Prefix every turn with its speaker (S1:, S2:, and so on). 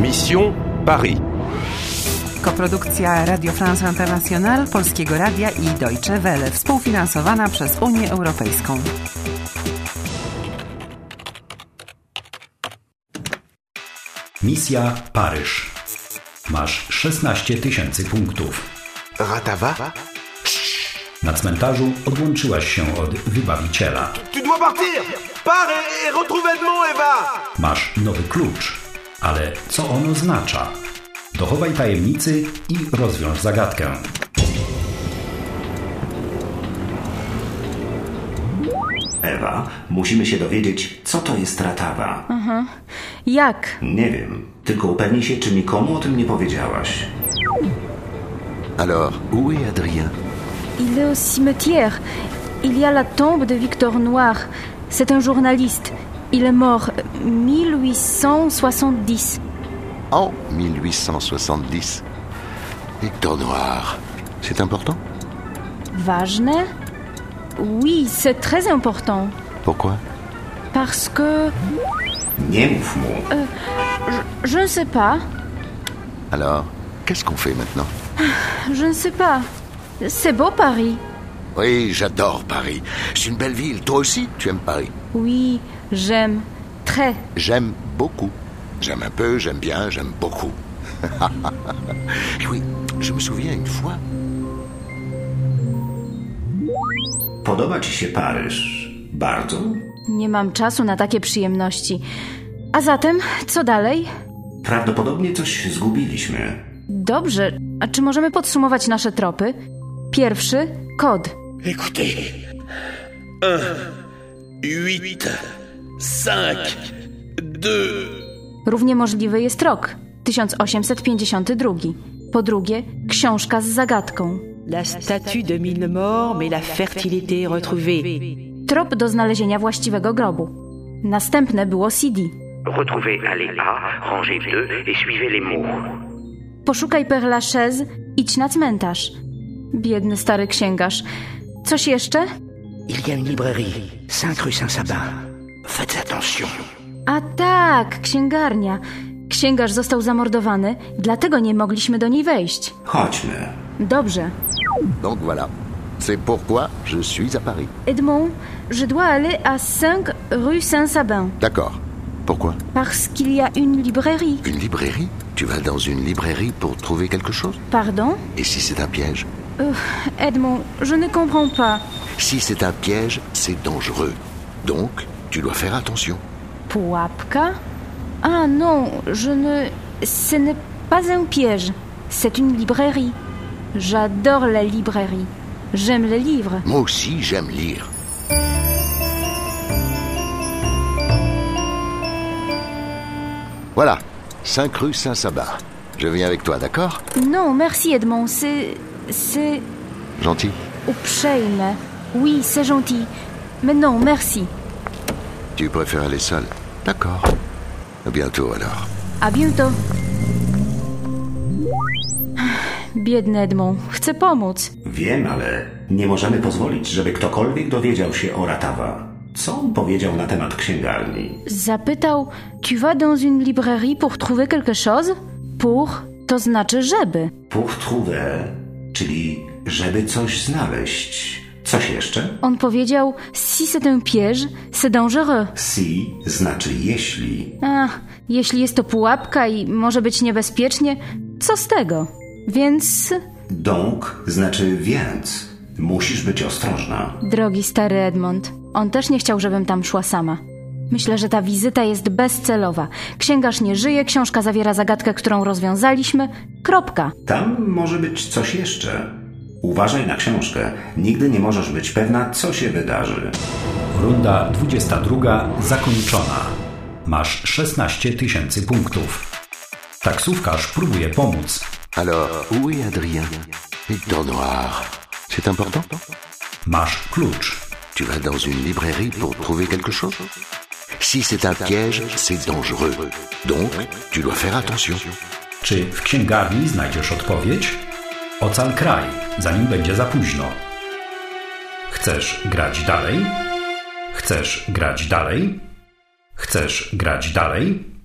S1: Mission Paris.
S2: Koprodukcja Radio France International, Polskiego Radia i Deutsche Welle, współfinansowana przez Unię Europejską.
S3: Misja Paryż. Masz 16 tysięcy punktów.
S4: Ratawa
S3: Na cmentarzu odłączyłaś się od wybawiciela.
S4: Tu dois partir Pars et, et retrouve Edmond, Eva
S3: Masz nowy klucz, ale co on oznacza? Dochowaj tajemnicy i rozwiąż zagadkę.
S5: Ewa, musimy się dowiedzieć, co to jest ratawa.
S6: Jak?
S5: Nie wiem, tylko upewnij się, czy nikomu o tym nie powiedziałaś.
S4: Alors, où est Adrien
S6: Il est au cimetière. Il y a la tombe de Victor Noir. C'est un journaliste. Il est mort 1870.
S7: en 1870. Victor Noir. C'est important
S6: Wagner Oui, c'est très important.
S7: Pourquoi
S6: Parce que...
S5: Nie mów mu.
S6: Je ne sais pas.
S7: Alors, qu'est-ce qu'on fait maintenant
S6: Je ne sais pas. C'est beau Paris.
S7: Oui, j'adore Paris. C'est une belle ville. Toi aussi, tu aimes Paris.
S6: Oui, j'aime. Très.
S7: J'aime beaucoup. J'aime un peu, j'aime bien, j'aime beaucoup. Et oui, je me souviens une fois,
S5: Podoba ci się Paryż? Bardzo?
S6: Nie mam czasu na takie przyjemności. A zatem, co dalej?
S5: Prawdopodobnie coś zgubiliśmy.
S6: Dobrze. A czy możemy podsumować nasze tropy? Pierwszy kod.
S8: Écoutez. 1, 8, 5, 2,
S6: Równie możliwy jest rok 1852. Po drugie, książka z zagadką.
S9: La statue de mille morts, mais la fertilité retrouvée.
S6: Trop do znalezienia właściwego grobu. Następne było CD.
S10: Retrouvez allée A, rangée 2 et suivez les mots.
S6: Poszukaj Père Lachaise, idź na cmentarz. Biedny stary księgarz. Coś jeszcze?
S8: Il y a une librairie, 5 rue Saint-Sabin. Faites attention.
S6: A tak, księgarnia. Księgarz został zamordowany, dlatego nie mogliśmy do niej wejść.
S5: Chodźmy.
S6: Dobrze.
S7: donc voilà. C'est pourquoi je suis à Paris.
S6: Edmond, je dois aller à 5 rue Saint-Sabin
S7: D'accord. Pourquoi
S6: parce qu'il y a une librairie.
S7: Une librairie Tu vas dans une librairie pour trouver quelque chose
S6: Pardon
S7: Et si c'est un piège
S6: Edmond, je ne comprends pas.
S7: Si c'est un piège, c'est dangereux. Donc, tu dois faire attention.
S6: Pułapka Ah non, je ne. Ce n'est pas un piège. C'est une librairie. J'adore la librairie. J'aime les livres.
S7: Moi aussi, j'aime lire. Voilà, 5 rue Saint-Sabin. Je viens avec toi, d'accord
S6: Non, merci Edmond, c'est. C'est.
S7: Gentil.
S6: Uprzejme. Oui, c'est gentil. Mais non, merci.
S7: Tu préfères aller seul D'accord. À bientôt alors.
S6: A bientôt. Biedny Edmond, chcę pomóc.
S5: Wiem, ale nie możemy pozwolić, żeby ktokolwiek dowiedział się o ratawa. Co on powiedział na temat księgarni?
S6: Zapytał, tu vas dans une librairie pour trouver quelque chose? Pour to znaczy żeby.
S5: Pour trouver, czyli żeby coś znaleźć. Coś jeszcze?
S6: On powiedział, si c'est un piège, c'est dangereux.
S5: Si znaczy jeśli.
S6: A, jeśli jest to pułapka i może być niebezpiecznie, co z tego? Więc,
S5: Donc znaczy więc. Musisz być ostrożna.
S6: drogi stary Edmond, on też nie chciał, żebym tam szła sama. Myślę, że ta wizyta jest bezcelowa. Księgarz nie żyje, książka zawiera zagadkę, którą rozwiązaliśmy. Kropka.
S5: Tam może być coś jeszcze. Uważaj na książkę. Nigdy nie możesz być pewna, co się wydarzy.
S3: Runda 22 zakończona. Masz 16 tysięcy punktów. Taksówkarz próbuje pomóc.
S7: Alors, où est Adrien Victor Noir. C'est important
S3: Masz klucz.
S7: Tu vas dans une librairie pour trouver quelque chose Si c'est un piège, c'est dangereux. Donc, tu dois faire attention.
S3: Czy w księgarni znajdziesz odpowiedź? Ocal kraj, zanim będzie za późno. Chcesz grać dalej? Chcesz grać dalej? Chcesz grać dalej?